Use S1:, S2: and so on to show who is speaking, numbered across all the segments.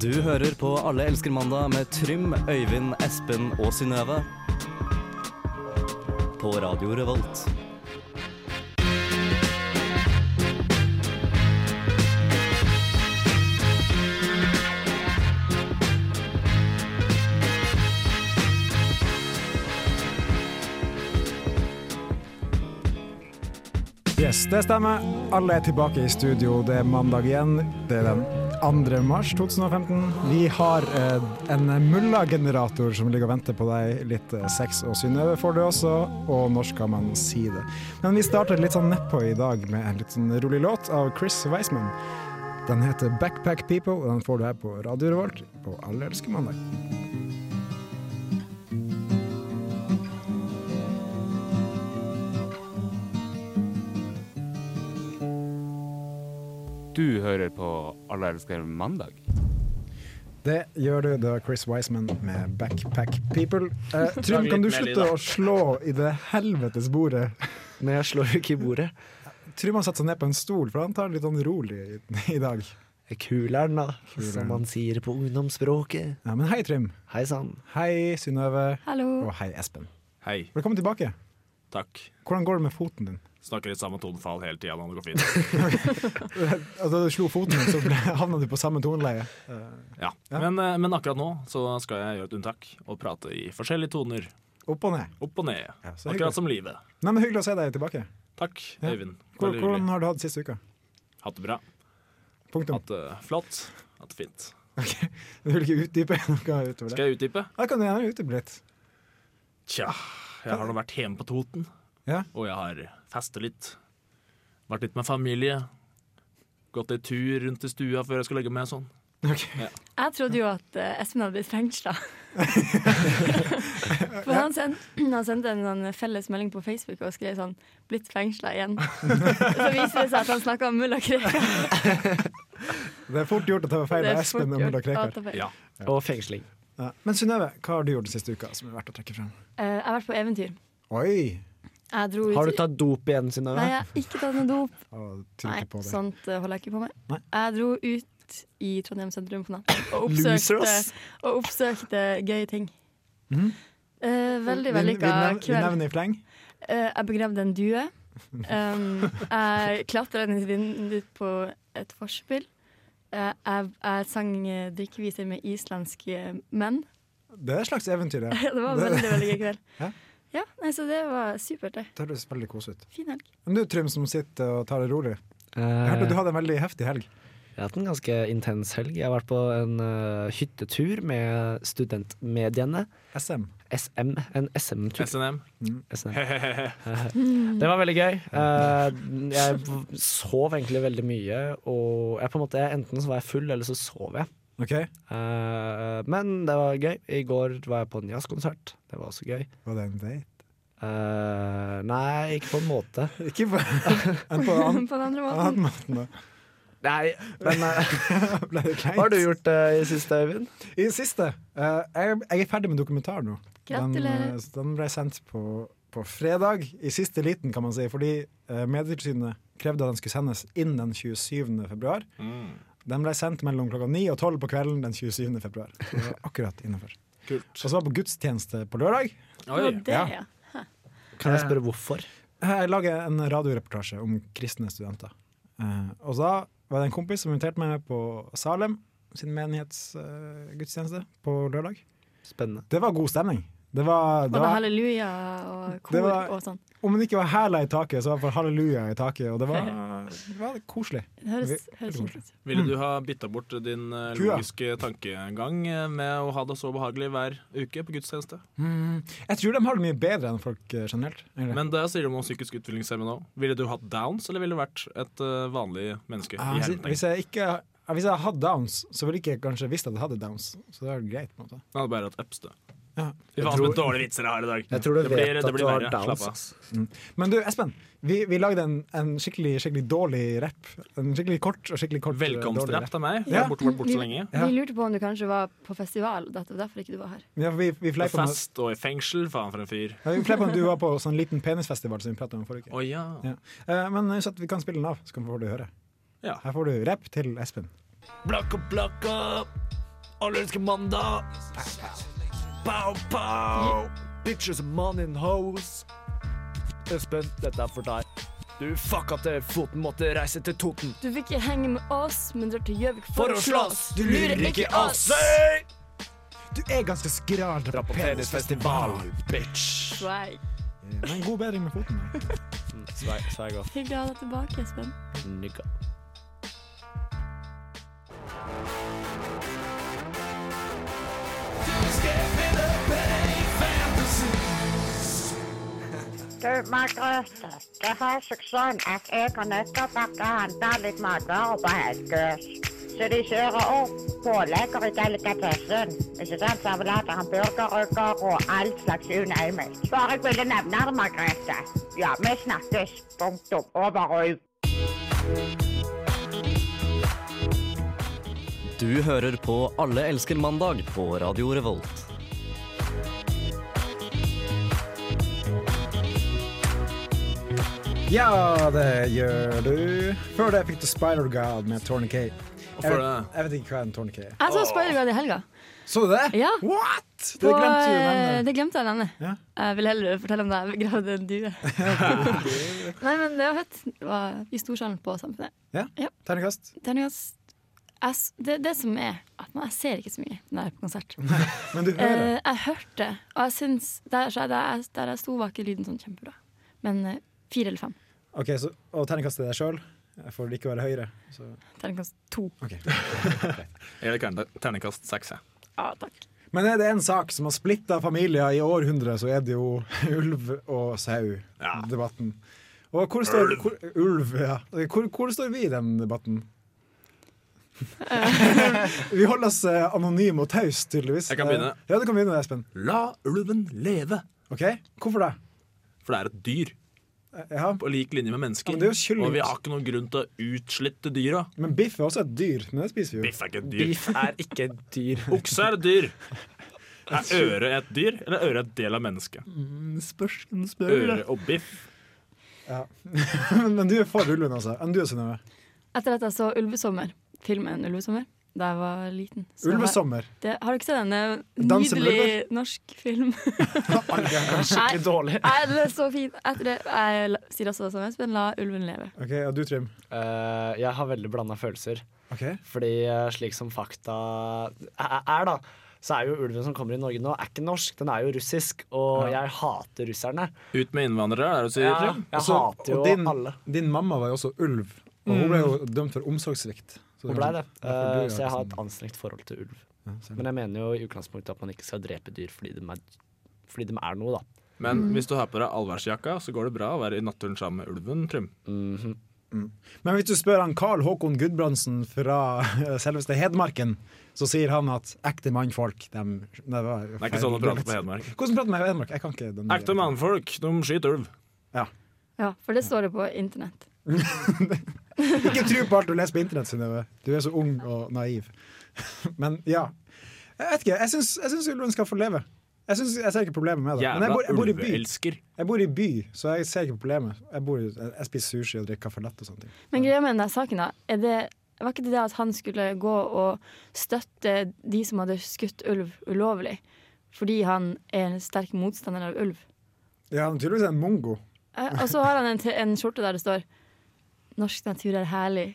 S1: Du hører på Alle elsker mandag med Trym, Øyvind, Espen og Synnøve. På Radio Revolt.
S2: Yes, det stemmer. Alle er tilbake i studio. Det er mandag igjen. Det er den 2. mars 2015. Vi har eh, en mulla-generator som ligger og venter på deg. Litt eh, sex og Synnøve får du også, og når skal man si det? Men vi starter litt sånn nedpå i dag med en litt sånn rolig låt av Chris Weisman. Den heter 'Backpack People', og den får du her på Radio Revolt på Alle elsker mandag.
S3: Du hører på Alle elsker mandag.
S2: Det gjør du, det var Chris Wiseman med 'Backpack People'. Eh, Trym,
S4: Lag litt
S2: kan du
S4: mer lyd,
S2: slutte
S4: da.
S2: å slå i det helvetes bordet?
S4: Men jeg slår jo ikke i bordet.
S2: Trym har satt seg ned på en stol, for han tar det litt sånn rolig i, i dag.
S4: Kuleren, da,
S2: Kuleren.
S4: som man sier på ungdomsspråket.
S2: Ja, men hei, Trym.
S4: Hei sann.
S2: Hei, Synnøve.
S5: Hallo.
S2: Og hei, Espen.
S6: Hei,
S2: Velkommen tilbake.
S6: takk.
S2: Hvordan går det med foten din?
S6: Snakker i samme tonefall hele tida når det går fint.
S2: Altså, da du slo foten din, så ble- havna du på samme toneleie.
S6: Ja. Men, eh, men akkurat nå så skal jeg gjøre et unntak og prate i forskjellige toner.
S2: Opp og ned.
S6: Opp og ned.
S2: så hyggelig.
S6: akkurat som livet.
S2: Nei, men Hyggelig å se deg tilbake.
S6: Takk,
S2: Ja.
S6: Øyvind.
S2: Hvor,
S6: Veldig
S2: hvordan
S6: hyggelig.
S2: har du hatt det siste uka?
S6: Hatt det bra.
S2: Punktum.
S6: Hatt det flott. Hatt det fint.
S2: Du vil ikke utdype noe utover det?
S6: Skal jeg utdype?
S2: Da kan du gjerne utdype litt.
S6: Tja, jeg har nå vært hjemme på Toten.
S2: Ja.
S6: Og jeg har festet litt. Vært litt med familie. Gått en tur rundt i stua før jeg skal legge meg og sånn.
S2: Ok.
S5: Jeg trodde jo at eh, Espen hadde blitt fengsla. For han, send, han sendte en sånn felles melding på Facebook og skrev sånn 'blitt fengsla igjen'. Så viser det seg at han snakka om mulla Krekar.
S2: Det er fort gjort å ta feil
S5: Det
S2: av
S5: er
S2: Espen
S5: fort
S2: og mulla
S5: gjort å
S2: Krekar.
S5: ta feil.
S6: Ja.
S4: Og fengsling.
S2: Ja. Men Synnøve, hva har du gjort den siste uka som er verdt å trekke frem?
S5: Eh, jeg har vært på eventyr.
S2: Oi!
S5: Jeg dro ut
S4: Har du tatt dop igjen, Synnøve?
S5: Nei, jeg har ikke tatt noe dop.
S2: Å, trykker
S5: Nei,
S2: på det.
S5: sånt eh, holder jeg ikke på med.
S2: Nei.
S5: Jeg dro ut i Trondheim sentrum på natta og
S4: Loser,
S5: oppsøkte,
S4: ass.
S5: og oppsøkte gøye ting.
S2: Mhm.
S5: Eh, veldig
S2: Vi- vi
S5: vellykka
S2: nev- Vi
S5: kveld.
S2: nevner i fleng.
S5: Eh, jeg begravde en due. Um, jeg klatra ned i vinduet på et forspill. Eh, jeg, jeg sang eh, drikkeviser med islandske menn.
S2: Det er et slags eventyr, det.
S5: Det var en veldig veldig gøy kveld.
S2: Ja.
S5: Ja, nei, Så det var supert, det.
S2: Det høres veldig koselig ut.
S5: Fin helg.
S2: Men du, Trym, som sitter og tar det rolig. Jeg
S4: Eh,
S2: hørte du hadde en veldig heftig helg.
S4: jeg har hatt en ganske intens helg. Jeg har vært på en eh, hyttetur med studentmediene.
S2: SM.
S4: SM. En SM-tur.
S6: SNM.
S4: SNM. Det var veldig gøy. Eh, jeg sov egentlig veldig mye, og jeg på en måte, enten så var jeg full, eller så sov jeg.
S2: OK?
S4: Eh, men det var gøy. I går var jeg på en jazzkonsert. Det var også gøy.
S2: Var det en date?
S4: Eh, nei, ikke på en måte.
S2: Ikke på en på
S5: på
S2: annen,
S5: den andre måten.
S2: annen måte. nå.
S4: Nei, men eh,
S2: Ble det kleint?
S4: Hva har du gjort eh, i siste, Øyvind?
S2: I det siste. eh, jeg, jeg er ferdig med dokumentar nå. Den,
S5: Gratulerer.
S2: eh, så den ble sendt på, på fredag, i siste liten, kan man si. Fordi eh, Medietilsynet krevde at den skulle sendes innen den 27. februar.
S4: Mm.
S2: Den ble sendt mellom klokka 9 og 12 på kvelden den 27. februar. Så det var akkurat innenfor.
S6: Kult.
S2: Og så var jeg på gudstjeneste på lørdag.
S5: Det
S6: Oi.
S5: var det, ja.
S4: Kan jeg spørre hvorfor?
S2: Jeg lager en radioreportasje om kristne studenter. Eh, og da var det en kompis som inviterte meg med på Salem sin menighetsgudstjeneste på lørdag.
S4: Spennende.
S2: Det var god stemning. Det var,
S5: Og
S2: det
S5: da
S2: var,
S5: halleluja og
S2: Det
S5: kor
S2: var-
S5: og sånn.
S2: om det ikke var hæla i taket, så var det i hvert fall halleluja i taket. Og det var, det var koselig.
S5: Det høres, høres fint ut.
S6: Ville du ha bytta bort din eh,
S2: Kua.
S6: logiske tankegang eh, med å ha det så behagelig hver uke på gudstjeneste?
S2: Mm, Jeg tror de har det mye bedre enn folk eh, generelt. egentlig.
S6: Men det sier de om psykisk utviklingshemmede òg. Ville du hatt downs, eller ville du vært et eh, vanlig menneske?
S2: Ah,
S6: i
S2: hvis,
S6: hermetegn?
S2: hvis jeg ikke ja, hvis jeg hadde hatt downs, så ville ikke jeg kanskje visst at jeg hadde downs. Så det var greit på en måte
S6: Jeg hadde bare hatt ups, det.
S2: ja.
S6: Fy faen, som dårlige vitser jeg har i dag.
S4: Jeg tror du
S6: det blir,
S4: vet
S6: det
S4: at
S6: blir
S4: du har
S6: verre. Slapp av.
S4: downs.
S2: Mm. Men du, Espen. Vi, vi lagde en, en skikkelig skikkelig dårlig rap. En skikkelig kort og skikkelig kort eh, dårlig
S6: Velkomstrapp
S2: rap.
S6: til meg. Jeg
S2: Ja.
S6: har bort, bort, bort så lenge.
S2: Ja.
S5: Vi lurte på om du kanskje var på festival, og det var derfor ikke du var her.
S2: Ja, for vi, vi
S6: På
S2: fleipa med-
S6: fest og i fengsel, faen for en fyr.
S2: ja, vi fleipa med at du var på sånn liten penisfestival som vi pratet om forrige uke.
S6: Å ja.
S2: Ja. Eh, Men så at vi kan spille den av, så kan- får du høre.
S6: Ja.
S2: Her får du rap til Espen.
S6: Blakka, blakka.
S4: Allelske mandag! Pow, pow! Bitches and man in hoes. Espen, dette er for deg. Du fucka til foten, måtte reise til Toten.
S5: Du vil ikke henge med oss, men drar til Gjøvik
S4: For å slåss, du lurer ikke oss! Hey!
S2: Du er ganske skral
S4: Dra på penisfestival, bitch.
S5: Swag.
S2: Eh, Men god bedring med foten.
S4: Sveig off,
S5: Hyggelig å ha deg tilbake, Espen.
S4: nigga.
S7: Du, Margrethe, det har seg sånn at jeg og Nøtterbakke handler litt matvarer på Helgøs. Så de kjører opp pålegger i delikatessen. Ikke sant? Servelater, hamburgerrygger og all slags unøyelig. Bare jeg ville nevne det, Margrethe. Ja, vi snakkes. Punktum. Over og ut.
S1: Du hører på Alle elsker mandag på Radio Revolt.
S2: Ja, det gjør du. Før det fikk du Spider God med Tourniquet.
S6: Og
S2: Jeg,
S6: for
S2: vet-
S6: det
S2: jeg vet ikke hva en tourniquet er.
S5: Jeg så Spider-God i helga.
S2: Så du det?
S5: Ja.
S2: What?! Det
S5: På,
S2: glemte du å
S5: eh,
S2: nevne.
S5: det glemte jeg å nevne.
S2: Ja.
S5: Jeg vil heller fortelle om da jeg begravde en due. Nei, men det var fett. Det var i storsalen på Samfunnet.
S2: Terningkast.
S5: Terningkast jeg s- det, det som er at man, jeg ser ikke så mye når jeg er på konsert.
S2: Men du hører.
S5: Eh, jeg hørte, og jeg syns Der, så jeg- der, jeg- der jeg sto, var ikke lyden sånn kjempebra. Men eh, fire eller fem.
S2: Ok, så, Og terningkast til deg sjøl, for det ikke å være høyre. Så.
S5: Terningkast to.
S6: Jeg gir det terningkast seks, jeg.
S5: Ja, takk.
S2: Men er det en sak som har splitta familier i århundrer, så er det jo ulv og sau-debatten. Og hvor står Hvor, ulv, ja. hvor, hvor står vi i den debatten? vi holder oss eh, anonyme og tause, tydeligvis. Eh,
S6: Jeg kan begynne.
S2: Ja, du kan begynne, Espen.
S6: La ulven leve,
S2: Ok, Hvorfor det? Eh,
S6: for det er et dyr.
S2: Ja.
S6: På lik linje med mennesker.
S2: Ja, men det er jo kylling.
S6: og vi har ikke noen grunn til å utslitte dyra.
S2: Men biff er også et dyr. Men det spiser vi jo.
S6: Biff er ikke et dyr.
S4: Beef er ikke dyr.
S6: Okse er et dyr. Er øre et dyr, eller er øre et del av mennesket?
S2: Mm,
S6: Øre og biff.
S2: Ja. men du er for ulven, altså. Enn du, Synnøve?
S5: Etter at jeg så Ulvesommer, filmen Ulvesommer, da jeg var liten så har-
S2: Ulvesommer.
S5: Det, har du ikke sett den?
S2: Danse med
S5: Nydelig norsk film.
S4: Skikkelig dårlig.
S5: Nei, den er så fin. Etter det, jeg la- sier også det samme, Espen. La ulven leve.
S2: Ok, Og du, Trym?
S4: Eh, jeg har veldig blanda følelser.
S2: Ok
S4: Fordi eh, slik som fakta er, er da, så er jo ulven som kommer i Norge nå, er ikke norsk. Den er jo russisk, og jeg hater russerne.
S6: Ut med innvandrere, er det du sier?
S4: Jeg,
S6: Trym?
S4: jeg
S2: Også-
S4: hater jo
S2: og din,
S4: alle.
S2: Din mamma var jo også ulv, og hun ble jo dømt for omsorgssvikt. Så
S4: Hun blei det.
S2: Derfor liksom- blir
S4: Eh,
S2: jeg
S4: så jeg har
S2: ikke
S4: et anstrengt forhold til ulv.
S2: sånn. Ja, ser du.
S4: Men jeg mener jo i utgangspunktet at man ikke skal drepe dyr fordi de er, fordi de er noe, da.
S6: Men
S2: Mm.
S6: hvis du har på deg allværsjakka, så går det bra å være i naturen sammen med ulven, Trym.
S4: Mhm.
S2: Men hvis du spør han Carl Håkon Gudbrandsen fra eh, selveste Hedmarken, så sier han at ekte mannfolk dem- Nei, Det var
S6: Det er ikke sånn å prate på Hedmark.
S2: Hvordan prater man i Hedmark? Jeg kan ikke den
S6: Ekte mannfolk, de skyter ulv.
S5: Ja, For det står det på internett.
S2: Ikke tro på alt du leser på internett, Synnøve. Du er så ung og naiv. Men ja. Jeg vet ikke. Jeg syns, jeg syns ulven skal få leve. Jeg, syns, jeg ser ikke problemet med det. Men jeg
S6: Jævla
S2: bor, jeg bor i by.
S6: ulveelsker.
S2: Jeg bor i by, så jeg ser ikke problemet. Jeg, bor, i- jeg spiser sushi og drikker kaffe lett og sånne ting.
S5: Men greia med den der saken, da, er det, var ikke det det at han skulle gå og støtte de som hadde skutt ulv ulovlig? Fordi han er en sterk motstander av ulv.
S2: Ja, han er tydeligvis en mongo.
S5: Eh, Og så har han en, t- en skjorte der det står 'Norsk natur er herlig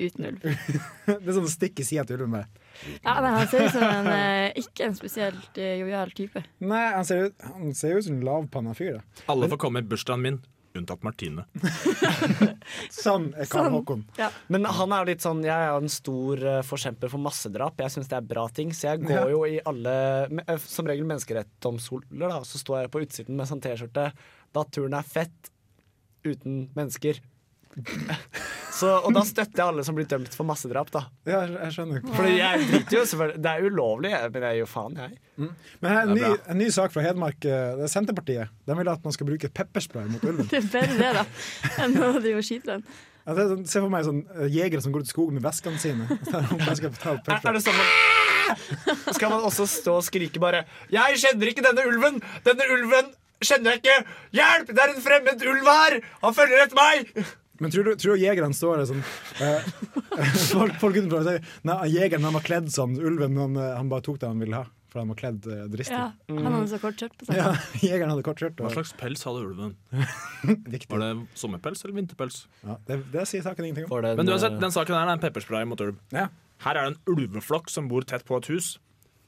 S5: uten ulv'.
S2: Det er sånn stikk i sida til ulven. bare.
S5: Ja, nei, Han ser ut som en eh, ikke en spesielt eh, jovial type.
S2: Nei, han ser, ut, han ser jo ut som en lavpanna fyr, da.
S6: Alle får komme i bursdagen min, unntatt Martine.
S2: Sånn er Karl
S5: Sånn.
S2: Håkon.
S5: Ja.
S4: Men han er jo litt sånn Jeg er jo en stor eh, forkjemper for massedrap. Jeg syns det er bra ting, så jeg
S2: Ja.
S4: går jo i alle me- eh, Som regel menneskerettsdomstoler, da. Så står jeg på utsiden med sånn T-skjorte. Naturen er fett uten mennesker. Så, og da støtter jeg alle som blir dømt for massedrap, da.
S2: Ja, jeg- jeg skjønner.
S4: Fordi jeg driter jo selvfølgelig Det er ulovlig, jeg- men jeg gir jo faen, jeg.
S2: Men her er en
S6: Det er
S2: ny, en ny sak fra Hedmark. eh, Det er Senterpartiet. De vil at man skal bruke pepperspray mot ulven.
S5: Det er bedre det, da, enn å drive og skyte den.
S2: Ja, det er sånn, se for meg sånn eh, jegere som går ut i skogen med veskene sine. Jeg skal ta
S4: Er, er
S2: pepperspray.
S4: det sånn man Skal man også stå og skrike bare 'Jeg kjenner ikke denne ulven! Denne ulven kjenner jeg ikke! Hjelp! Det er en fremmed ulv her! Han følger etter meg!'
S2: Men tror du, tror du jegerne står der sånn eh, Folk, folk kunne prøve å si Nei, jegeren han var kledd som ulven, men han, eh, han bare tok det han ville ha. For han var kledd eh, dristig.
S5: Ja, han hadde så kort skjørt på seg.
S2: Ja, jegeren hadde kort skjørt.
S8: Hva
S2: Og,
S8: slags pels hadde ulven?
S2: viktig.
S8: Var det sommerpels eller vinterpels?
S2: Ja, det, det sier saken ingenting om.
S4: Får den,
S8: Men uansett,
S4: eh,
S8: den saken her er en pepperspray mot ulv.
S2: Ja.
S8: Her er det en ulveflokk som bor tett på et hus.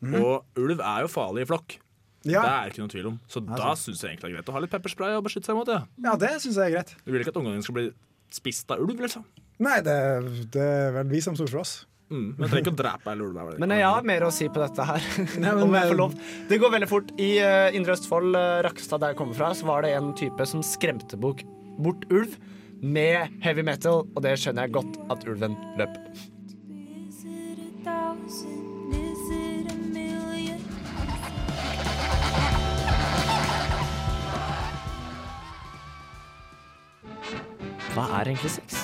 S2: Mm.
S8: Og ulv er jo farlig i flokk.
S2: Ja,
S8: Det er ikke noe tvil om. Så da syns jeg egentlig det er greit å ha litt pepperspray og beskytte seg mot det.
S2: ja, det syns jeg er greit.
S8: Du vil ikke at ungene dine skal bli spist av ulv, liksom.
S2: Nei, det, det er vel vi som står for oss.
S8: Mm. Men jeg trenger ikke å drepe alle ulvene.
S4: Men jeg har mer å si på dette her.
S2: Nei, men-
S4: om jeg får lov. Det går veldig fort. I eh, Indre Østfold, eh, Rakkestad, der jeg kommer fra, så var det en type som skremte bok, bort ulv med heavy metal, og det skjønner jeg godt at ulven løp.
S9: Is it a thousand? Is it a million?
S4: Hva er egentlig sex?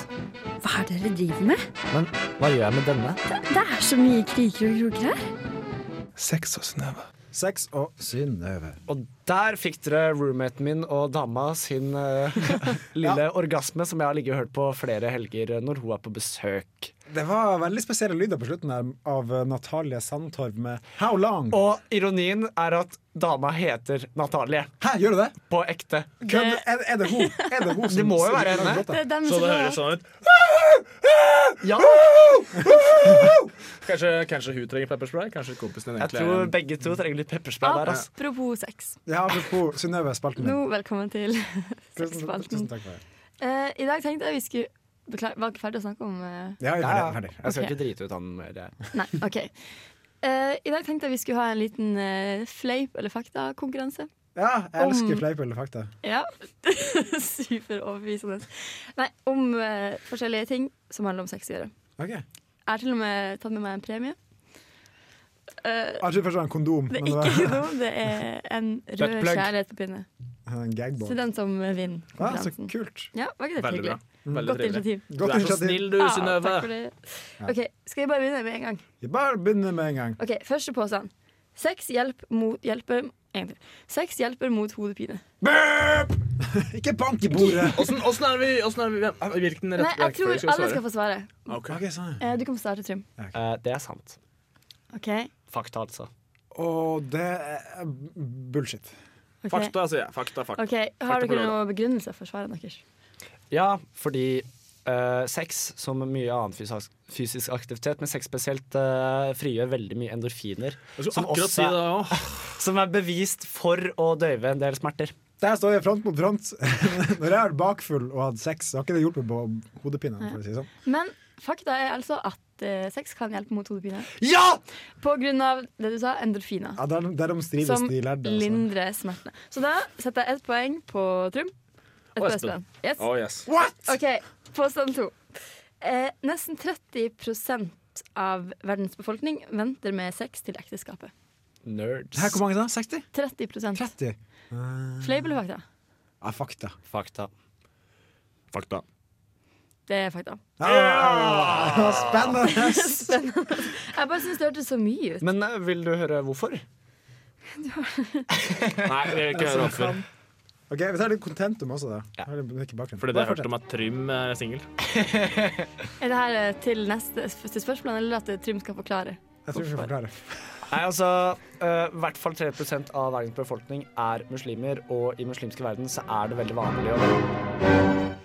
S10: Hva er det dere driver med?
S4: Men hva gjør jeg med denne?
S10: Det er så mye kriker og kroker her.
S2: Sex og Synnøve.
S4: Og der fikk dere roommaten min og dama sin eh, lille orgasme, som jeg har ligget og hørt på flere helger eh, når hun er på besøk.
S2: Det var veldig spesielle lyder på slutten her av eh, Natalie Sandtorv med How Long?
S4: Og ironien er at dama heter Natalie.
S2: Hæ, gjør du det?
S4: På ekte.
S2: Kødd? Er, er det hun? Er det hun som
S4: Det må jo være
S2: synger
S4: henne.
S2: låta?
S5: Det er dem
S8: Så
S5: som
S8: det
S5: er-
S8: høres sånn ut.
S4: Ja,
S8: Kanskje, kanskje hun trenger pepperspray? Kanskje kompisen din
S4: jeg
S8: egentlig er
S4: tror
S8: en
S4: begge to trenger litt pepperspray der. altså. ass.
S5: Apropos sex.
S2: Ja, apropos Synnøve, spalten din.
S5: Nå, velkommen til
S2: Tusen, tusen
S5: sexspalten.
S2: takk for det.
S5: Eh, I dag tenkte jeg vi skulle Beklager, var ikke ferdig å snakke om eh,
S2: Ja, vi er
S4: Ja, ja.
S2: ferdig. ferdig.
S4: Jeg skal
S5: Ok.
S4: ikke drite ut han mer. jeg.
S5: Nei, OK. Eh, I dag tenkte jeg vi skulle ha en liten eh, fleip- eller fakta-konkurranse.
S2: Ja, jeg elsker
S5: Om-
S2: fleip eller fakta.
S5: Ja. Superoverbevisende. Nei, om eh, forskjellige ting som handler om sex å gjøre.
S2: Ok.
S5: Jeg har til og med tatt med meg en premie. Eh,
S2: Jeg trodde først det var en kondom, men
S5: det er
S2: det var
S5: ikke noe, det er en rød
S4: Buttplug.
S5: kjærlighet på pinne.
S2: en
S5: Så
S2: gagball.
S5: den som vinner
S2: Ja, Ah, så
S5: konkurransen.
S2: kult.
S5: Ja, var ikke det
S8: Veldig bra.
S5: hyggelig?
S8: Veldig
S5: Godt
S8: trivelig.
S5: initiativ.
S8: Du
S2: Godt
S8: er så
S2: initiativ.
S8: snill du,
S5: Ja,
S8: Synnøve.
S5: takk for det. Ok, Skal jeg bare begynne med en gang?
S2: Vi bare begynner med en gang.
S5: Ok, Første påstand. Sex hjelp mot, hjelper en til. Sex hjelper mot hodepine.
S2: Ikke bank i bordet!
S8: Åssen åssen er vi, åssen er vi Hvilken
S5: Nei,
S8: rett
S5: jeg tror
S8: rekkefølge skal
S5: alle
S8: vi
S5: skal
S8: svare?
S5: få svare.
S8: Ok.
S2: Ok, sånn.
S5: Eh, Du kan få starte, Trym.
S4: Eh, det er sant.
S5: Ok,
S4: Fakta, altså.
S2: Og det er bullshit.
S5: ok.
S8: Fakta, sier jeg. Fakta, fakta.
S5: Ok, Har
S8: Fakta på
S5: dere
S8: lørdag.
S5: noen begrunnelse for svaret deres?
S4: Ja, fordi eh, sex, som mye annen fysisk, fysisk aktivitet, men sex spesielt, eh, frigjør veldig mye endorfiner.
S8: Jeg
S4: Som
S8: skulle akkurat
S4: også
S8: si
S4: er-
S8: det òg.
S4: Som er bevist for å døyve en del smerter.
S2: Der står jeg front mot front. Når jeg er bakfull og har hatt sex, så har ikke det hjulpet på hodepinen. For å si det sånn.
S5: Men fakta er altså at eh, sex kan hjelpe mot hodepine.
S4: Ja!
S5: På grunn av det du sa, endorfiner.
S2: ja, der, derom strides
S5: Som
S2: de lærde. Altså.
S5: lindrer smertene. Så da setter jeg ett poeng på Trym. Et
S8: Og
S5: på
S8: Espen.
S5: Espen. Yes.
S8: Oh, yes.
S5: OK, påstand to. Eh, nesten 30 av verdens befolkning venter med sex til ekteskapet.
S4: Nerds.
S2: Her, hvor mange da? 60?
S5: 30
S2: 30?
S5: Fleip eller fakta?
S2: Ja, fakta.
S1: eh,
S4: Fakta.
S8: Fakta.
S5: Det er fakta.
S2: Ah, spennende!
S5: Jeg bare syns det hørtes så mye ut.
S4: Men eh, vil du høre hvorfor?
S8: Nei, jeg vil ikke høre hvorfor.
S2: Ok, Vi tar litt kontentum også, da. Her er det ikke bakgrunn.
S8: Fordi det
S2: Bare
S8: jeg hørte
S2: fortsett.
S8: om at Trym eh, er singel.
S5: Er det her eh, til neste til spørsmålet, eller at Trym skal forklare?
S2: Jeg tror vi skal forklare.
S4: Nei, altså, eh, i hvert fall 3 av verdens befolkning er muslimer, og i muslimske verden så er det veldig vanlig å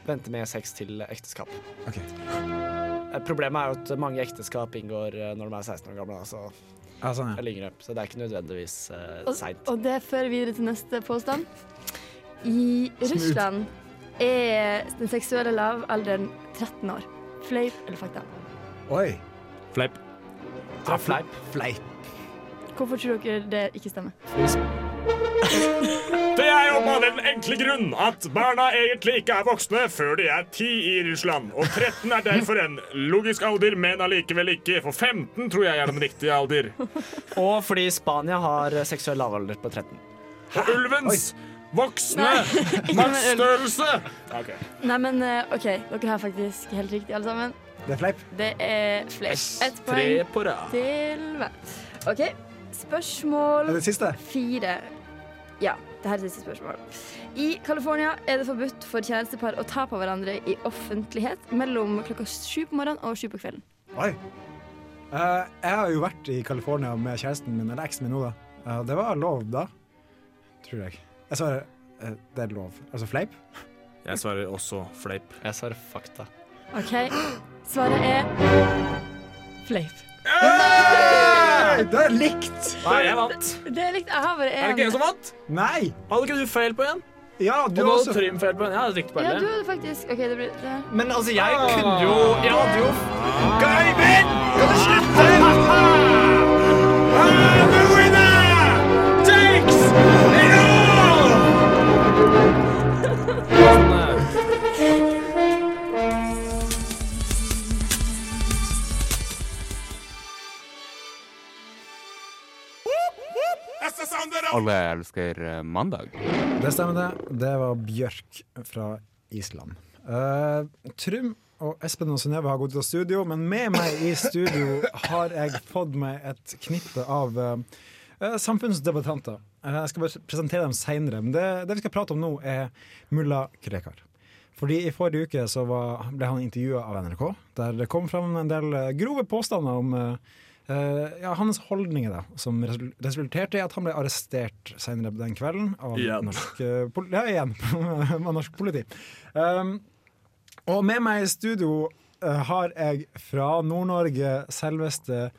S4: vente med sex til ekteskap.
S2: Ok.
S4: Eh, Problemet er jo at mange ekteskap inngår eh, når de er 16 år gamle, altså,
S2: Ja, sånn, ja.
S4: eller yngre, så det er ikke nødvendigvis uh,
S5: Og,
S4: seint.
S5: og det fører videre til neste påstand. I Russland er den seksuelle lavalderen 13 år. Fleip eller fakta?
S2: Oi.
S8: Fleip.
S4: Det er fleip.
S2: Fleip.
S5: Hvorfor tror dere det ikke stemmer?
S8: Det er jo bare den enkle grunn at barna egentlig ikke er voksne før de er 10 i Russland. Og 13 er derfor en logisk alder, men allikevel ikke. For 15 tror jeg er den riktige alder.
S4: Og fordi Spania har eh, seksuell lavalder på 13.
S8: Og ulvens voksne maksstørrelse
S5: Nei, men eh, OK, dere har faktisk helt riktig, alle sammen.
S2: Det er fleip.
S5: Det er fleip. Ett
S8: Tre
S5: poeng
S8: på rad.
S5: til hver. OK,
S2: Er
S5: spørsmål
S2: det siste?
S5: fire. Ja, det her er siste spørsmål. I California er det forbudt for kjærestepar å ta på hverandre i offentlighet mellom klokka sju på morgenen og sju på kvelden.
S2: Oi. Eh, jeg har jo vært i California med kjæresten min, eller eksen min nå, da. Eh, det var lov da, tror jeg. Jeg svarer eh, det er lov. Altså fleip?
S8: Jeg svarer også fleip.
S4: Jeg svarer fakta.
S5: OK, svaret er fleip.
S2: Nei, det er likt!
S8: Nei, jeg vant.
S5: Det er likt. Jeg har bare
S8: Er det ikke jeg
S5: én.
S8: som vant?
S2: Nei!
S8: Hadde ikke du feil på en?
S2: Ja, du
S8: Og nå hadde
S2: også.
S8: Trym feil på en. Jeg hadde riktig på
S5: Ja, du
S8: alle.
S5: hadde faktisk OK, det blir det.
S4: Men altså, jeg kunne jo Jeg hadde jo
S3: Alle elsker eh, mandag.
S2: Det stemmer, det. Det var Bjørk fra Island. Eh, Trym og Espen og Synnøve har gått ut av studio, men med meg i studio har jeg fått meg et knippe av eh, samfunnsdebattanter. Eh, jeg skal bare presentere dem seinere, men det, det vi skal prate om nå, er mulla Krekar. Fordi I forrige uke så var, ble han intervjua av NRK, der det kom fram en del eh, grove påstander om eh, eh, ja, hans holdninger, da, som resul- resulterte i at han ble arrestert senere den kvelden av
S8: Igjen.
S2: norsk, eh, pol ja, igjen, av norsk politi. Um, og med meg i studio eh, har jeg fra Nord-Norge selveste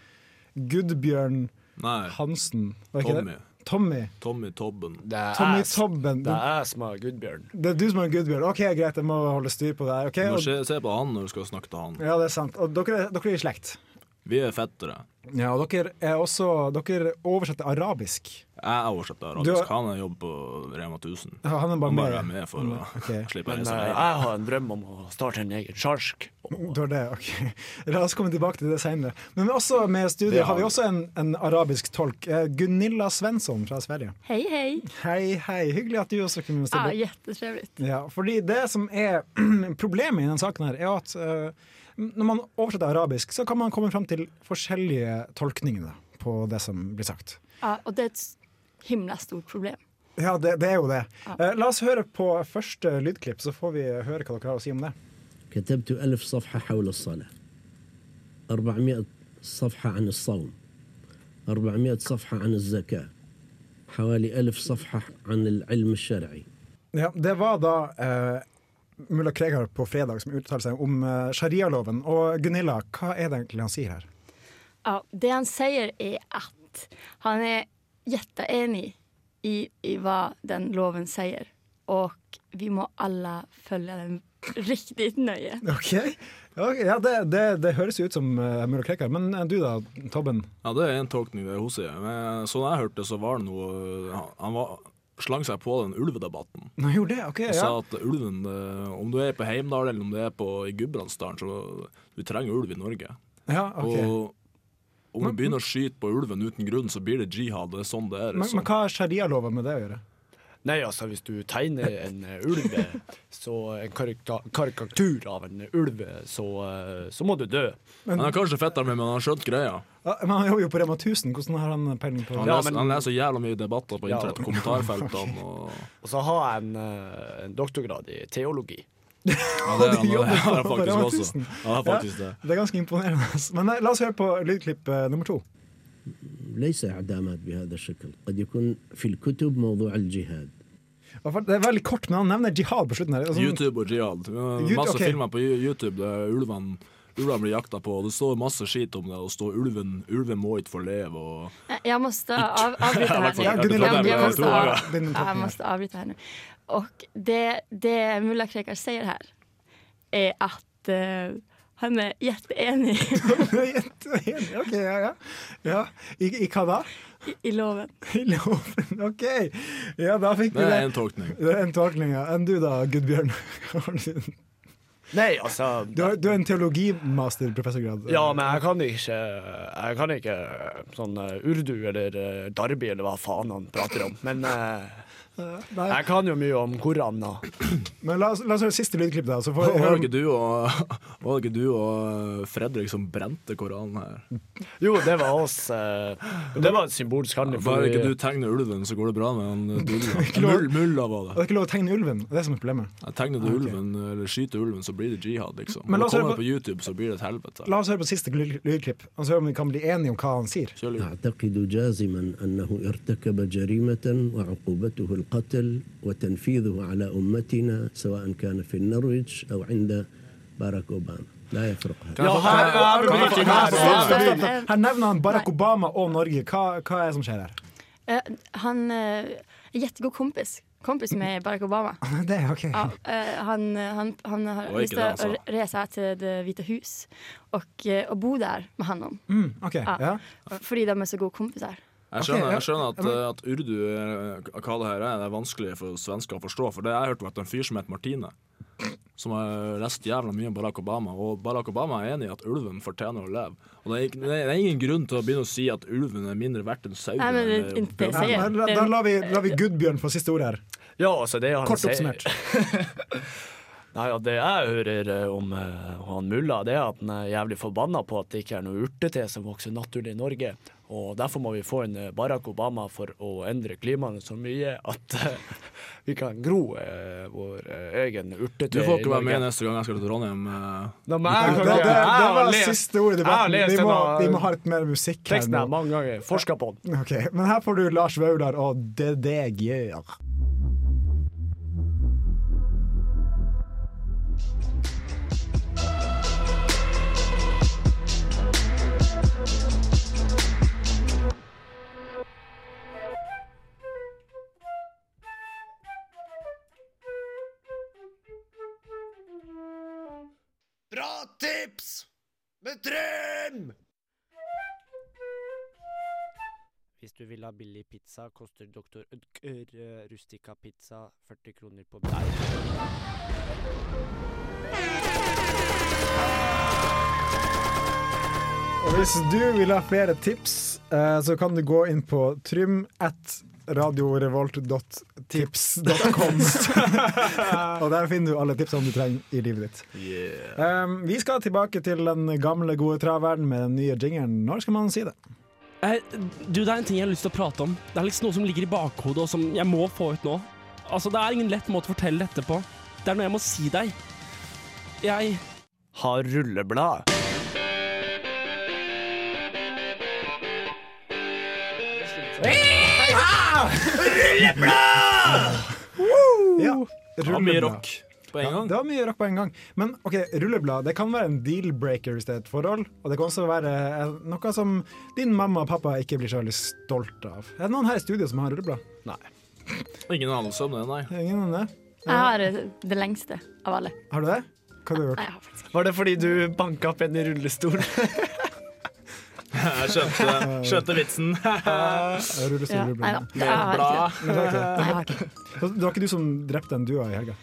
S2: Gudbjørn
S8: Nei,
S2: Hansen. Var ikke
S8: Tommy.
S2: det? Tommy.
S8: Tommy Tobben.
S4: Det
S2: Tommy
S4: er
S2: Tobben.
S4: Det er som er Gudbjørn.
S2: Det er du som er Gudbjørn. OK, greit, jeg må holde styr på det her.
S8: Du
S2: ok?
S8: må
S2: Og,
S8: se, se på han når du skal snakke til han.
S2: ja, det er sant. Og dere, dere er i slekt.
S8: Vi er fettere.
S2: Ja, og dere er også Dere oversetter arabisk.
S8: Jeg oversetter
S2: Du har-
S8: arabisk. Han har jobb på Rema 1000.
S2: Ja, Han er bare
S8: Han bare Mm, er
S2: med.
S8: med for å
S2: Ok.
S8: slippe å
S4: Men
S8: reise
S4: eh,
S8: ned.
S4: jeg har en drøm om å starte en egen sjark.
S2: Du har det, ok. La oss komme tilbake til det senere. Men vi også med i studio har
S4: Det
S2: vi
S4: har vi.
S2: også en, en arabisk tolk. eh, Gunilla Svensson fra Sverige.
S5: Hei, hei.
S2: Hei, hei. Hyggelig at du også kunne
S5: Ah,
S2: stille
S5: Ja,
S2: opp.
S5: Kjempetrivelig.
S2: Ja, fordi det som er problemet i denne saken her, er at eh, når man oversetter arabisk, så kan man komme fram til forskjellige tolkninger da, på det som blir sagt.
S5: Ja, og det er et s- himla stort problem.
S2: Ja, det, det er jo det. Eh, la oss høre på første lydklipp, så får vi høre hva dere har å si om det.
S11: كتبت ألف صفحة حول الصلاة أربعمائة صفحة عن الصوم أربعمائة صفحة عن الزكاة حوالي ألف صفحة عن العلم الشرعي
S2: Ja, det var da eh, mulla Krekar på fredag som uttalte seg om eh, sharialoven. Og Gunilla, hva er det egentlig han sier her?
S5: Ja, det han sier er at han er jätteenig i, i hva den loven sier, og vi må alle følge den riktig nøye.
S2: Ok, Ok, ja, det, det, det høres jo ut som eh, mulla Krekar, men eh, du da, Tobben?
S8: Ja, det er en tolkning det hun sier. Men sånn jeg hørte, så var det noe han- Han var, slang seg på den ulvedebatten.
S2: Nei, jo det, ok,
S8: Og
S2: ja.
S8: sa at ulven, eh, om du er på Heimdal eller om du er på, i Gudbrandsdalen, så du trenger ulv i Norge.
S2: ja ok.
S8: Og om du begynner å skyte på ulven uten grunn, så blir det jihad. Det er sånn det er.
S2: Men,
S8: liksom.
S2: men hva har sharialoven med det å gjøre?
S4: Nei, altså, hvis du tegner en eh, ulv, eh, så en karikta- karikatur av en ulv, eh, så, eh, så må du dø.
S8: Han er kanskje fetteren min, men han har skjønt greia.
S2: Ja, Men han jobber jo på Rema 1000, hvordan har han peiling på
S8: Han,
S2: det?
S4: Ja,
S8: leser,
S4: men-
S8: han leser jævla mye debatter på
S4: Ja.
S8: internett, kommentarfeltene og
S4: Og så har jeg en, eh, en doktorgrad i teologi.
S8: Ja, det,
S2: de
S8: han,
S2: jobber
S8: det har jeg
S2: på
S8: faktisk
S2: Rema
S8: også.
S2: 1000.
S8: Ja, det er faktisk det.
S2: Det er ganske imponerende. ass. Men nei, la oss høre på lydklipp eh, nummer to.
S11: ليس إعدامات بهذا الشكل قد يكون في الكتب موضوع الجهاد
S2: Hva for- Det er veldig kort, men han nevner jihad på slutten her. Altså,
S8: YouTube og jihad. Uh,
S2: Ju-
S8: Masse
S2: ok.
S8: filmer på Ju- YouTube der ulvene ulvene blir jakta på, og det står masse skit om det. Og det står 'ulven, ulven må ikke få leve'. Og
S5: Jeg- Eh, Jeg måste av, avbryte her
S8: Ja,
S5: nu.
S8: Gunilla,
S5: Jag,
S8: du-
S5: jag, måste
S8: du-
S5: av,
S2: din
S5: jag
S2: tolkning.
S5: måste avbryta här nu. Och det, det Mulla Krekar säger här är att eh, han är jätteenig
S2: Enig, ok, ja, ja. ja. I, I hva da?
S5: i, i loven.
S2: I loven, ok. Ja, da fikk vi
S8: det er
S2: det.
S8: en tolkning.
S2: Det er en tolkning, ja. Enn du da, Gudbjørn?
S4: Nei, altså
S2: Du har, du har en teologimaster-professorgrad.
S4: Ja, men jeg kan ikke Jeg kan ikke sånn eh, urdu eller eh, darbi eller hva faen han prater om. Men eh, Jeg kan jo mye om Koranen.
S2: Men la oss, la oss høre siste lydklipp, da. Så får,
S8: Var det ikke du og, var det ikke du og Fredrik som brente Koranen her?
S4: Jo, det var oss. eh, Det var en symbolsk handling.
S8: Bare
S4: fordi-
S8: ikke du tegner ulven, så går det bra med han eh, dulla.
S2: Ikke lov.
S8: Mull, mulla var
S2: Og
S8: det.
S2: det er ikke lov å tegne ulven. Det er det som er problemet.
S8: Jeg tegner du
S2: Ah, ok.
S8: ulven, eller skyter ulven, så blir det jihad, liksom.
S2: Men
S8: Men
S2: la
S8: la
S2: oss høre
S8: Kommer
S2: på-
S8: på YouTube, så blir det et helvete.
S2: La oss høre på siste lyd- lydklipp, og så høre om vi kan bli enige om hva han sier.
S11: أعتقد جازما أنه ارتكب جريمة وعقوبته القتل وتنفيذه على أمتنا سواء كان في النرويج أو عند باراك أوباما لا يفرق هذا
S4: Ja, her- her-
S2: Kan jeg få-
S4: her-
S2: her- stopp, stopp,
S5: her-
S2: stopp. Her nevner han Barack Obama og Norge. Hva, hva er det som skjer her?
S5: Eh, han eh, er jättegod kompis. Kompis med Barack Obama.
S2: Det, er ok
S5: Ja, eh, han, han, han har
S2: Det var
S5: lyst
S2: ikke
S5: til
S2: det han
S5: å reise her til Det hvite hus og, eh, og bo der med honom.
S2: Mm, ok,
S5: Ja.
S2: ja.
S5: Fordi de er så gode kompiser.
S8: Jeg skjønner, jeg skjønner at, eh, at urdu eh, hva det her er, det er vanskelig for svensker å forstå. For det jeg hørte var at en fyr som het Martine, som har lest jævla mye om Barack Obama, og Barack Obama er enig i at ulven fortjener å leve. Og det er, ikke, det er ingen grunn til å begynne å si at ulven er mindre verdt enn sauen.
S5: Nei, men det er
S8: eller
S5: ikke det jeg
S8: bjørnen.
S5: sier.
S2: Ja, men da, da lar vi, lar vi Gudbjørn få siste ord her.
S4: Ja, altså det han
S2: Kort
S4: sier-
S2: oppsummert.
S4: Nei, ja, Det jeg hører eh, om eh, han mulla, det er at han er jævlig forbanna på at det ikke er noe urtete som vokser naturlig i Norge. Og Derfor må vi få en eh, Barack Obama for å endre klimaet så mye at eh, vi kan gro eh, vår eh, egen urtete
S8: Du får ikke være med neste gang jeg skal til Trondheim. eh.
S4: Nei, men
S2: Ja,
S4: jeg
S2: det,
S4: kan
S2: det,
S4: ikke- jeg
S2: det
S4: har
S2: var
S4: lest-
S2: siste ord i
S4: jeg har
S2: debatten.
S4: lest
S2: Vi må,
S4: denne
S2: vi må ha litt mer musikk her
S4: Teksten
S2: nå.
S4: her mange ganger. Forska på den.
S2: Ok, Men her får du Lars Vaular og Det deg gjør.
S12: Bra tips! Med Trym!
S13: Hvis du vil ha billig pizza, koster Dr. Ødker eh, Rustica Pizza 40 kroner på
S2: Og hvis du vil ha flere tips, eh, så kan du gå inn på trym at radiorevolt.tips.com. og der finner du alle tipsene du trenger i livet ditt. Um, vi skal tilbake til den gamle, gode traveren med den nye jingeren. Når skal man si det?
S14: Eh, du, det er en ting jeg har lyst til å prate om. Det er liksom noe som ligger i bakhodet, og som jeg må få ut nå. Altså, det er ingen lett måte å fortelle dette på. Det er noe jeg må si deg. Jeg
S4: Har rulleblad.
S12: Rulleblad!
S2: Ja,
S8: Det var mye
S2: rulleblad.
S8: rock på en
S2: Ja, det var mye rock på en gang. Men ok, rulleblad det kan være en deal-breaker hvis det er et forhold. Og det kan også være eh, noe som din mamma og pappa ikke blir så veldig stolt av. Er det noen her i studio som har rulleblad?
S8: Ingen anelse om det, nei.
S2: Ingen om det?
S5: Jeg har eh, det lengste av alle.
S2: Har du det? Hva har du gjort?
S4: Var det fordi du banka opp en i rullestol?
S8: Jeg skjønte, skjønte vitsen.
S2: Rullestol,
S5: Ja,
S2: rullestol.
S5: nei da, jeg har ikke det.
S2: Men det var ikke det.
S5: Nei, jeg har
S2: Så Det var ikke du som drepte den dua i helga?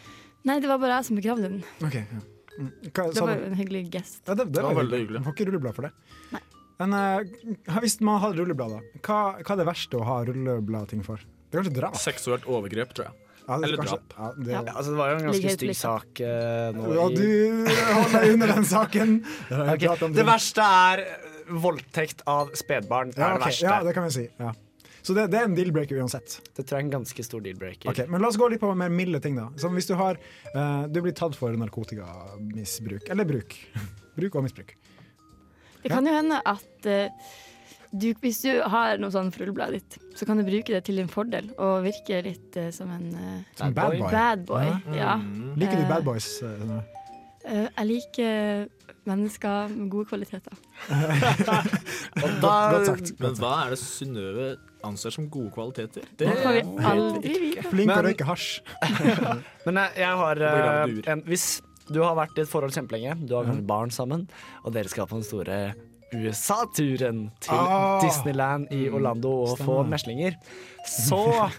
S5: Nei, det var bare jeg som begravde den.
S2: Ok, ja. Mm. Hva,
S5: Det
S2: sa
S5: var
S2: du-
S5: jo en hyggelig gest.
S2: Ja, det, det, var veldig hyggelig. Får ikke rulleblad for det. Men eh, hvis man har rulleblad, da, hva, hva er det verste å ha rullebladting for? Det er kanskje drap?
S8: Seksuelt overgrep, tror jeg.
S2: Ja, det er
S8: Eller
S2: kanskje-
S8: drap.
S2: Ja, det,
S4: Ja, altså, det var jo en ganske
S2: Ligger
S4: stygg
S2: litt-
S4: sak eh, nå
S2: Ja,
S4: i
S2: du holder deg under den saken. Det har jeg
S4: Ok,
S2: pratet om
S4: Det
S2: tidligere.
S4: verste er eh, voldtekt av spedbarn.
S2: ja,
S4: er
S2: ok,
S4: det verste.
S2: ja, det kan vi si. Ja. Så det, det er en deal-breaker uansett.
S4: Det tror jeg er en ganske stor deal-breaker.
S2: Ok, men la oss gå litt på mer milde ting, da. Som hvis du har eh, Du blir tatt for narkotikamisbruk. Eller bruk. bruk og misbruk.
S5: Det kan jo hende at eh, du, hvis du har noe sånn for rullebladet ditt, så kan du bruke det til din fordel og virke litt eh, som en eh,
S2: Som bad boy.
S5: Bad boy, ja.
S2: Liker
S5: Eh,
S2: du bad boys? eh, sånn?
S5: eh, jeg liker eh, mennesker med gode kvaliteter.
S2: Godt- godt sagt, godt
S8: Men hva er det Synnøve anser som gode kvaliteter?
S4: Det får vi
S8: vet
S4: aldri
S8: jeg
S4: vite.
S8: ikke.
S4: Flink å Men- røyke
S2: hasj.
S4: Men jeg, jeg har
S8: Og
S4: eh,
S8: begravet
S4: en, Hvis du har vært i et forhold kjempelenge, du har kanskje barn sammen, og dere skal på den store USA-turen til
S13: Ah.
S4: Disneyland i Orlando og få
S13: Stemmer.
S4: meslinger, så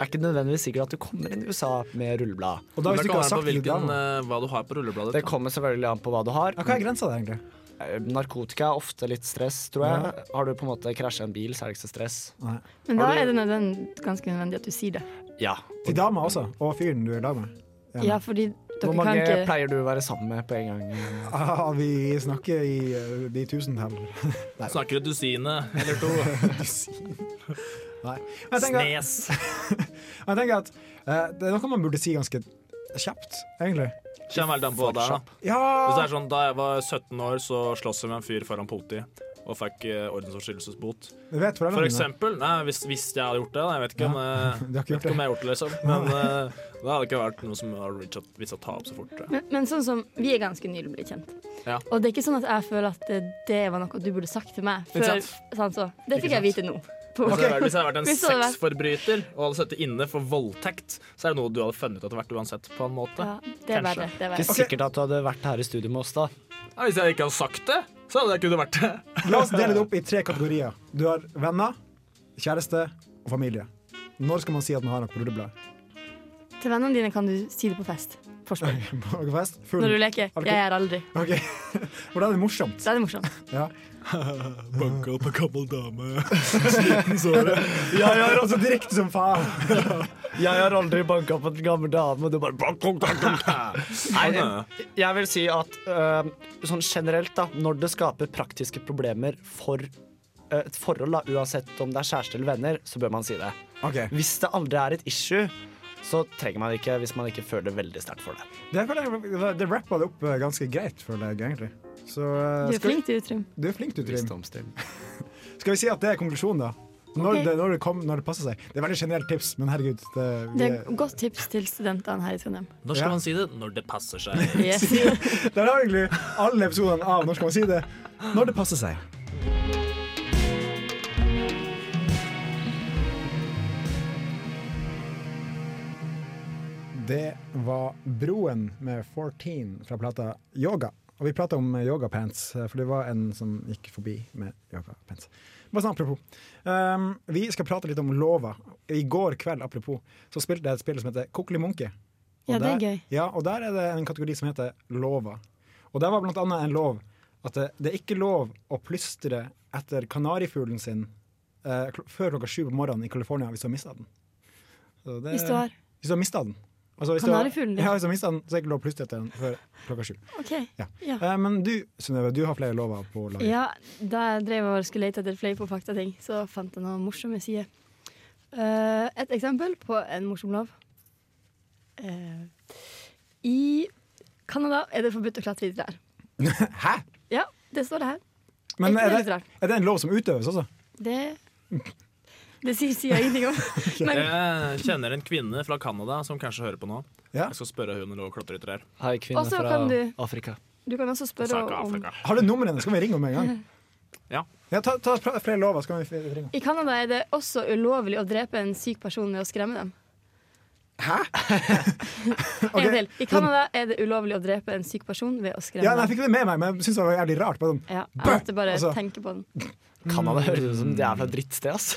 S4: er ikke nødvendigvis sikkert at du kommer inn i USA med rulleblad.
S8: Og da, hvis du ikke har sagt hvilken, eh, hva du har på rullebladet
S4: Det kommer selvfølgelig an på hva du har.
S2: Ja, hva er grensa der, egentlig?
S4: eh, narkotika er ofte litt stress, tror jeg. Har du på en måte krasja en bil, så er det ikke så stress.
S5: Men da
S4: Har du-
S5: er det nødvendig, ganske nødvendig at du sier det.
S4: Ja.
S2: Til dama også, og fyren du er da med. Ja.
S5: Ja, fordi
S4: Hvor
S5: dere
S4: mange
S5: kan ikke
S4: pleier du å være sammen med på en gang?
S2: Ah, vi snakker i eh, de tusentall. Nei.
S8: Snakker et dusinet eller to.
S2: Nei. Men Jeg tenker, Men jeg tenker at eh, det er noe man burde si ganske kjapt, egentlig.
S8: Kjenner veldig an på hva det er, da.
S2: Ja.
S8: Hvis det er sånn, da jeg var 17 år, så sloss jeg med en fyr foran politiet og fikk eh, ordensoverskridelsesbot.
S2: Du vet foreldrene
S8: For
S2: dine.
S8: eksempel, nei, hvis, hvis jeg hadde gjort det, da, jeg vet ikke om,
S2: Ja.
S8: eh,
S2: Du har ikke
S8: vet
S2: gjort
S8: ikke om jeg har gjort det, liksom. Men eh, det hadde ikke vært noe som hadde reachet- visst å ta opp så fort. tror jeg.
S5: men, men sånn som Vi er ganske nylig blitt kjent.
S8: Ja.
S5: Og det er ikke sånn at jeg føler at eh, det var noe du burde sagt til meg. Før,
S8: Ikke
S5: sånn så. Det fikk jeg vite nå. På-
S8: Hvis, jeg hadde vært- hvis jeg hadde vært en
S5: Hvis det hadde vært-
S8: sexforbryter og hadde sittet inne for voldtekt, så er det noe du hadde funnet ut at det hadde vært uansett, på en måte.
S5: Ja, det er
S8: Kanskje.
S5: verre. Det er
S4: Ikke
S5: verre.
S4: sikkert at du hadde vært her i studio med oss da.
S8: Ja, hvis jeg ikke hadde sagt det, så hadde jeg kunnet vært det.
S2: La oss dele det opp i tre kategorier. Du har venner, kjæreste og familie. Når skal man si at man har noe på rulleblad?
S5: Til vennene dine kan du si det på fest. Forspill.
S2: På fest? Full.
S5: Når du leker.
S2: Alkohol.
S5: Jeg er aldri.
S2: Ok. For da er det morsomt.
S5: Da er det morsomt.
S2: Ja.
S8: Banka opp en gammel dame. Sliten såret.
S2: Jeg er altså direkte som faen.
S4: Jeg har aldri banka på en gammel dame, og du bare bank, bank, bank, bank. Nei, jeg, jeg vil si at eh, sånn generelt, da, når det skaper praktiske problemer for eh, et forhold, da, uansett om det er kjæreste eller venner, så bør man si det. Hvis det aldri er et issue, så trenger man det ikke hvis man ikke føler veldig sterkt for det.
S2: Det, føler jeg- det rappa det opp eh, ganske greit, føler jeg egentlig. Så, eh,
S5: Du er
S2: skal vi-
S5: flink til Trym.
S2: Du er flink, du, Trym. Skal vi si at det er konklusjonen, da? Når,
S5: Ok.
S2: det, når, det kom, når det passer seg. Det er veldig generelt tips, men herregud. Det,
S5: Det er et godt tips til studentene her i Trondheim.
S8: Når skal man si det? Når det passer seg.
S5: Yes.
S2: Der har egentlig alle episodene av Når skal man si det? Når det passer seg. Det var Broen med 14 fra plata Yoga. Og vi prata om yogapants, for det var en som gikk forbi med yogapants. Bare sånn apropos. Um, vi skal prate litt om lova. I går kveld, apropos, så spilte jeg et spill som heter Kokkelimunke.
S5: Ja, det er
S2: der,
S5: gøy.
S2: Ja, og der er det en kategori som heter lova. Og der var blant annet en lov at det, det er ikke lov å plystre etter kanarifuglen sin eh, kl før klokka sju på morgenen i California hvis du har mista den. Så det-
S5: Hvis du har-
S2: Hvis du har mista den. Altså, hvis du-
S5: Kanarifuglen din?
S2: Ja, hvis du har mista den, så er det ikke lov å plystre etter den før klokka sju.
S5: OK.
S2: Ja.
S5: Ja.
S2: Eh, men du, Synnøve, du har flere lover på lager.
S5: Ja, da jeg drev og skulle lete etter fleip og faktating, så fant jeg noen morsomme sider. Eh, et eksempel på en morsom lov. Eh, I Canada er det forbudt å klatre i trær.
S2: Hæ?
S5: Ja, det står det her.
S2: Men
S5: Ikke
S2: er
S5: veldig
S2: det, er det en lov som utøves også?
S5: Det, det sier, sier jeg ingenting om. Men
S8: Jeg kjenner en kvinne fra Canada som kanskje hører på nå. Jeg skal spørre hun om hun klatre i trær.
S4: Hei,
S5: kvinne Også fra kan du-
S4: Afrika.
S5: du kan også spørre om
S2: Har du nummeret hennes? Skal vi ringe henne med en gang?
S8: Ja.
S2: ta, ta fra- flere lover, så kan vi f- ringe henne.
S5: I Canada er det også ulovlig å drepe en syk person ved å skremme dem. Hæ? En til. I Canada er det ulovlig å drepe en syk person ved å skremme
S2: Ja, nei, jeg
S5: dem.
S2: fikk det med meg, men jeg syns det var jævlig rart. Bare sånn.
S5: Ja, jeg
S2: Bø!
S5: måtte bare
S2: Altså-
S5: tenke på den.
S4: Canada høres ut som det er fra et drittsted, ass.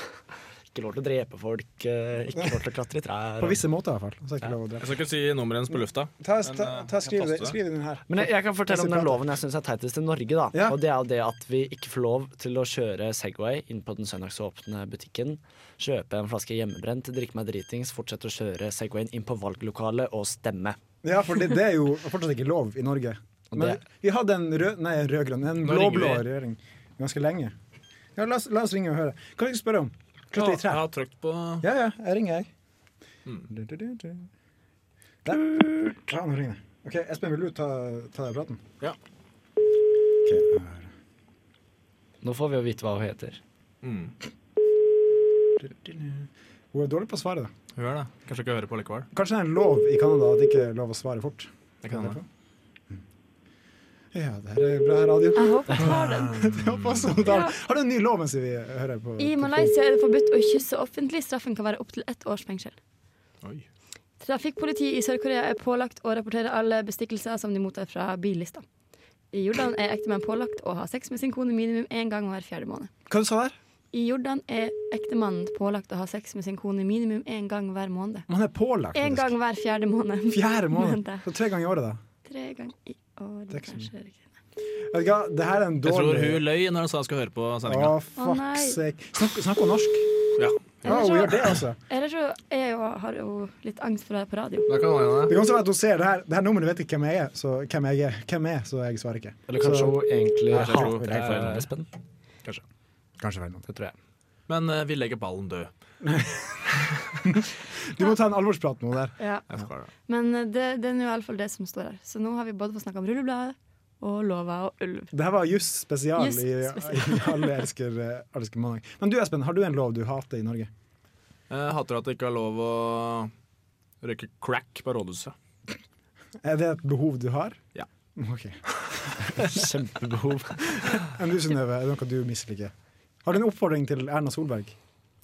S4: Ikke lov til å drepe folk, eh, ikke lov til å klatre i trær.
S2: På visse måter, i hvert fall. Så er det ikke lov å
S8: Jeg
S2: drepe.
S8: skal ikke si nummeret hennes på lufta.
S2: Ta,
S8: Men,
S2: ta,
S8: eh,
S2: ta, skriv,
S8: jeg
S2: det-
S8: passer
S2: skriv den her.
S4: Men jeg, jeg kan fortelle om den
S2: Prate.
S4: loven jeg syns er teitest i Norge. da Og Det er jo det at vi ikke får lov til å kjøre Segway inn på den søndagsåpne butikken, kjøpe en flaske hjemmebrent, drikke meg dritings, fortsette å kjøre Segwayen inn på valglokalet og stemme.
S2: Ja, for det, det er jo fortsatt ikke lov i Norge. Men
S4: det-
S2: vi hadde en rød, nei, en rød-grønn, en
S4: Nå
S2: blå-blå
S4: ringer vi.
S2: regjering ganske lenge. Ja, la, oss, la oss ringe og høre. Hva vil du spørre om? Klatre i
S8: Ja, jeg
S2: trær?
S8: har trykt på
S2: Ja, ja, jeg ringer, jeg.
S4: Hmm.
S2: Du, du, du, du. Der. Ja, nå ringer jeg. Ok, Espen, vil du ta, ta praten?
S8: Ja.
S4: Nå får vi jo vite hva hun heter.
S8: Mm.
S2: Hun er dårlig på å svare, da.
S8: Hun er det. Kanskje ikke hører på likevel.
S2: Kanskje det er en lov i Canada at det ikke er lov å svare fort?
S8: Det kan hende.
S2: Ja, det her er bra radio.
S5: Jeg håper hun tar den.
S2: Jeg håper også hun tar den. sånn. Har du en ny lov mens vi hører på?
S5: I Malaysia er det forbudt å kysse offentlig. Straffen kan være opptil ett års fengsel.
S8: Oi.
S5: Trafikkpolitiet i Sør-Korea er pålagt å rapportere alle bestikkelser som de mottar fra billista. I Jordan er ektemenn pålagt å ha sex med sin kone minimum én gang hver fjerde måned.
S2: Hva du sa der?
S5: I Jordan er ektemannen pålagt å ha sex med sin kone minimum én gang hver måned.
S2: Man er pålagt,
S5: Én gang hver fjerde måned.
S2: Fjerde måned.
S5: Vent da.
S2: Så tre ganger i året, da.
S5: Tre ganger i året,
S2: Det er ikke så
S5: kanskje. er det ikke det.
S2: Vet du hva, det her er en
S8: Jeg tror
S2: dårlig
S8: hun løy når hun sa hun skulle høre på sendinga.
S2: Å, fuck
S5: nei.
S2: sake. Snakk, snakk om norsk.
S8: Ja.
S2: Ja, hun gjør det, altså.
S5: Ellers så er jo, har jeg jo litt angst for det her på radio.
S8: Det kan
S2: Det kan også være at hun ser det her. Det her nummeret vet ikke hvem jeg er, så hvem jeg er, hvem jeg er, så jeg svarer ikke.
S8: Eller kanskje
S2: så,
S8: hun egentlig
S2: Nei,
S8: hater
S2: hun-
S8: deg for
S2: eh,
S8: Espen? Kanskje.
S2: Kanskje feil navn.
S8: Det tror jeg. Men eh, vi legger ballen død.
S2: Du må ta en alvorsprat med henne der.
S5: Ja.
S8: Jeg skal det.
S5: Men eh, det, det er nå iallfall det som står her. Så nå har vi både fått snakke om rullebladet og lova og ulv.
S2: Det her var juss spesial
S5: Juss
S2: i, i Alle elsker, eh, alle elsker mandag. Men du Espen, har du en lov du hater i Norge?
S8: Jeg Eh, hater at det ikke er lov å røyke crack på rådhuset.
S2: Er det et behov du har?
S8: Ja.
S2: Ok.
S8: Kjempebehov.
S2: Enn du Synnøve, er det noe du misliker? Har du en oppfordring til Erna Solberg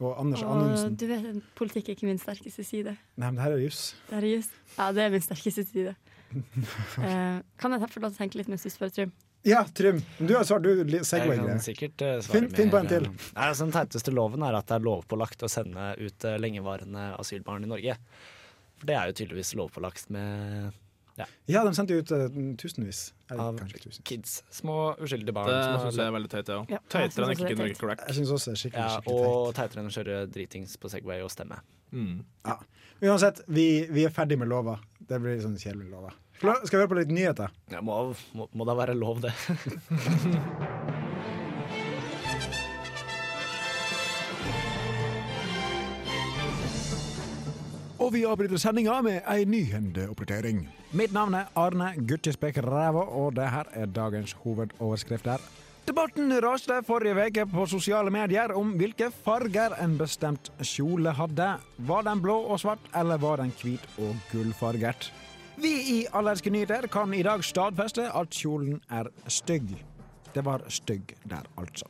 S2: og Anders
S5: Og
S2: Anundsen?
S5: du vet, politikk er ikke min sterkeste side.
S2: Nei, men det her er juss.
S5: Det er just. Ja, det er min sterkeste side. Eh, kan jeg ta- få lov til å tenke litt mens du spør, Trym?
S2: Ja, Trym. Du har svart, du li-
S4: Jeg
S2: segway
S4: kan
S2: greier.
S4: sikkert eh, svare
S2: Finn- finn på en til.
S4: Nei, altså, den teiteste loven er at det er lovpålagt å sende ut eh, lengevarende asylbarn i Norge. For det er jo tydeligvis lovpålagt med ja,
S2: Ja, de sendte ut eh, tusenvis. Eller
S4: Av
S2: kanskje tusen.
S4: kids. Små uskyldige barn.
S8: Det
S4: som har
S8: syns jeg er veldig teit, jeg òg.
S4: Ja, jeg synes
S8: Tøytere enn
S4: også
S8: ikke
S4: det er
S8: kunne
S4: teit.
S8: røyke crack.
S2: Jeg syns også det er skikkelig,
S4: ja,
S2: skikkelig teit.
S4: og teitere enn å kjøre dritings på Segway og stemme.
S2: Ja. Uansett, vi, vi er ferdig med lova. Det blir sånn kjedelig lova. Skal vi høre på litt nyheter?
S4: Ja, må, må, må da være lov, det.
S2: Og vi avbryter sendinga med ei nyhendeoppdatering. Mitt navn er Arne Guttjespek Ræva, og det her er dagens hovedoverskrift her. Debatten raste forrige uke på sosiale medier om hvilke farger en bestemt kjole hadde. Var den blå og svart, eller var den hvit og gullfarget? Vi i Allerske nyheter kan i dag stadfeste at kjolen er stygg. Det var stygg der, altså.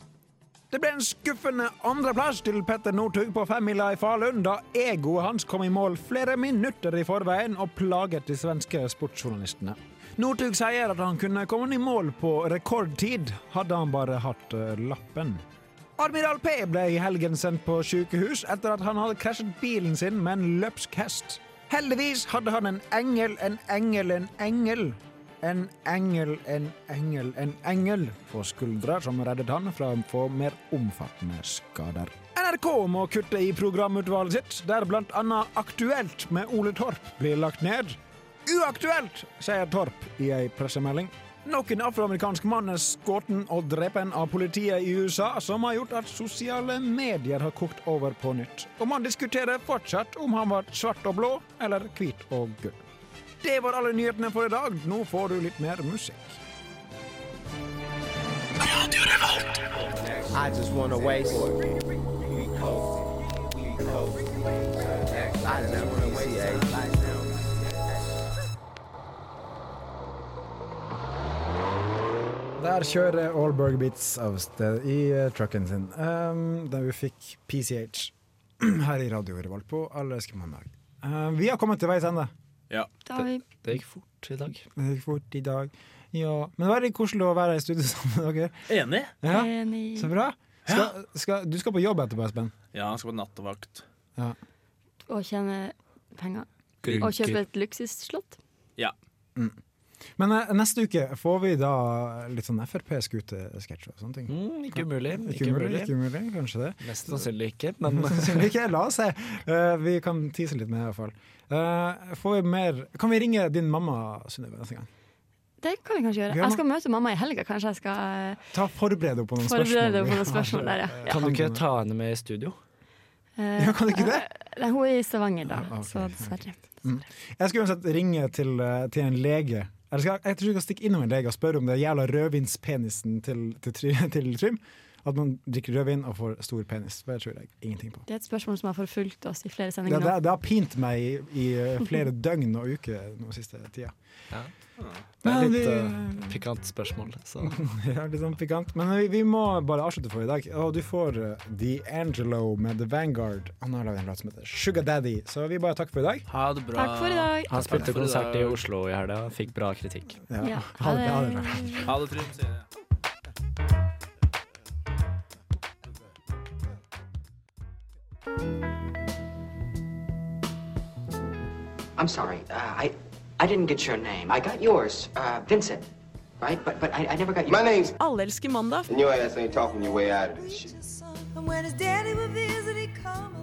S2: Det ble en skuffende andreplass til Petter Northug på femmila i Falun, da egoet hans kom i mål flere minutter i forveien og plaget de svenske sportsjournalistene. Northug sier at han kunne kommet i mål på rekordtid, hadde han bare hatt eh, lappen. Admiral P ble i helgen sendt på sykehus etter at han hadde krasjet bilen sin med en løpsk hest. Heldigvis hadde han en engel, en engel, en engel. En engel, en engel, en engel på skuldra som reddet han fra å få mer omfattende skader. NRK må kutte i programutvalget sitt, der blant annet Aktuelt med Ole Torp blir lagt ned. Uaktuelt, sier Torp i ei pressemelding. Nok en afroamerikansk mann er skutt og drepen av politiet i USA, som har gjort at sosiale medier har kokt over på nytt. Og man diskuterer fortsatt om han var svart og blå, eller hvit og gull. Det var alle nyhetene for i dag. Nå får du litt mer musikk.
S12: I just wanna waste.
S2: Der kjører Allberg Beats av sted i eh, trucken sin. Um, der vi fikk PCH her i Radio Revolt på Allerske mandag. Um, vi har kommet til veis ende.
S8: Ja.
S5: Da har vi
S4: Det gikk fort i dag.
S2: Det gikk fort i dag. Ja. Men det var litt koselig å være i studio sammen med dere.
S8: Enig?
S2: Ja.
S5: Enig.
S2: Så bra. Skal, skal, du skal på jobb etterpå, Espen.
S8: Ja, han skal på nattevakt.
S5: å tjene penger.
S8: Grunker.
S5: Og kjøpe et luksusslott.
S8: Ja.
S2: Men eh, neste uke får vi da litt sånn Frp-skutesketsj og sånne ting.
S4: Mm, ikke umulig.
S2: Ikke umulig, ikke umulig, kanskje det.
S4: Mest sannsynlig ikke, men
S2: Sannsynlig ikke. La oss se. Eh, vi kan tise litt med det, i hvert fall. Eh, får vi mer Kan vi ringe din mamma, Synnøve, neste gang?
S5: Det kan vi kanskje gjøre.
S2: Ja,
S5: Jeg skal møte mamma i helga. Kanskje jeg skal eh,
S2: Ta Forbered henne på noen spørsmål.
S5: forberede deg på noen spørsmål der, ja.
S4: Kan du ikke ta henne med i studio?
S5: Eh,
S2: kan du ikke det?
S5: Nei, hun er i Stavanger, da. Så dessverre.
S2: Jeg skal uansett ringe til, eh, til en lege. Eller skal, jeg tror jeg skal stikke innom en lege og spørre om det jævla rødvinspenisen til, til, Try- til Trym. At man drikker rødvin og får stor penis. Det tror jeg ingenting på.
S5: Det er et spørsmål som har forfulgt oss i flere
S2: Det,
S5: sendinger
S2: det,
S5: nå.
S2: det har pint meg i, i eh, flere døgn og uker den siste tida.
S4: Ja. Det
S2: Men
S4: er
S2: vi-
S4: litt eh, pikant spørsmål, så
S2: Ja, litt sånn pikant. Men vi, vi må bare avslutte for i dag. Og du får eh, D'Angelo med The Vanguard. Han har laget en låt som heter Sugar Daddy. Så vi bare takker for i dag.
S8: Ha det bra.
S5: Takk for i dag.
S4: Han spilte
S8: Takk for i
S4: konsert i
S8: dag.
S4: Oslo i helga, fikk bra kritikk.
S2: Ja.
S5: Ja,
S2: Ha det, ha det bra.
S8: Ha det, Trym, sier jeg.
S15: I'm sorry. Uh, I I didn't get your name. I got yours, uh, Vincent.
S7: right? But but I, I never got
S11: My name's-
S16: Alle elsker mandag.
S11: And your ass ain't talking your way out of this shit.
S5: And when his daddy would visit, he'd come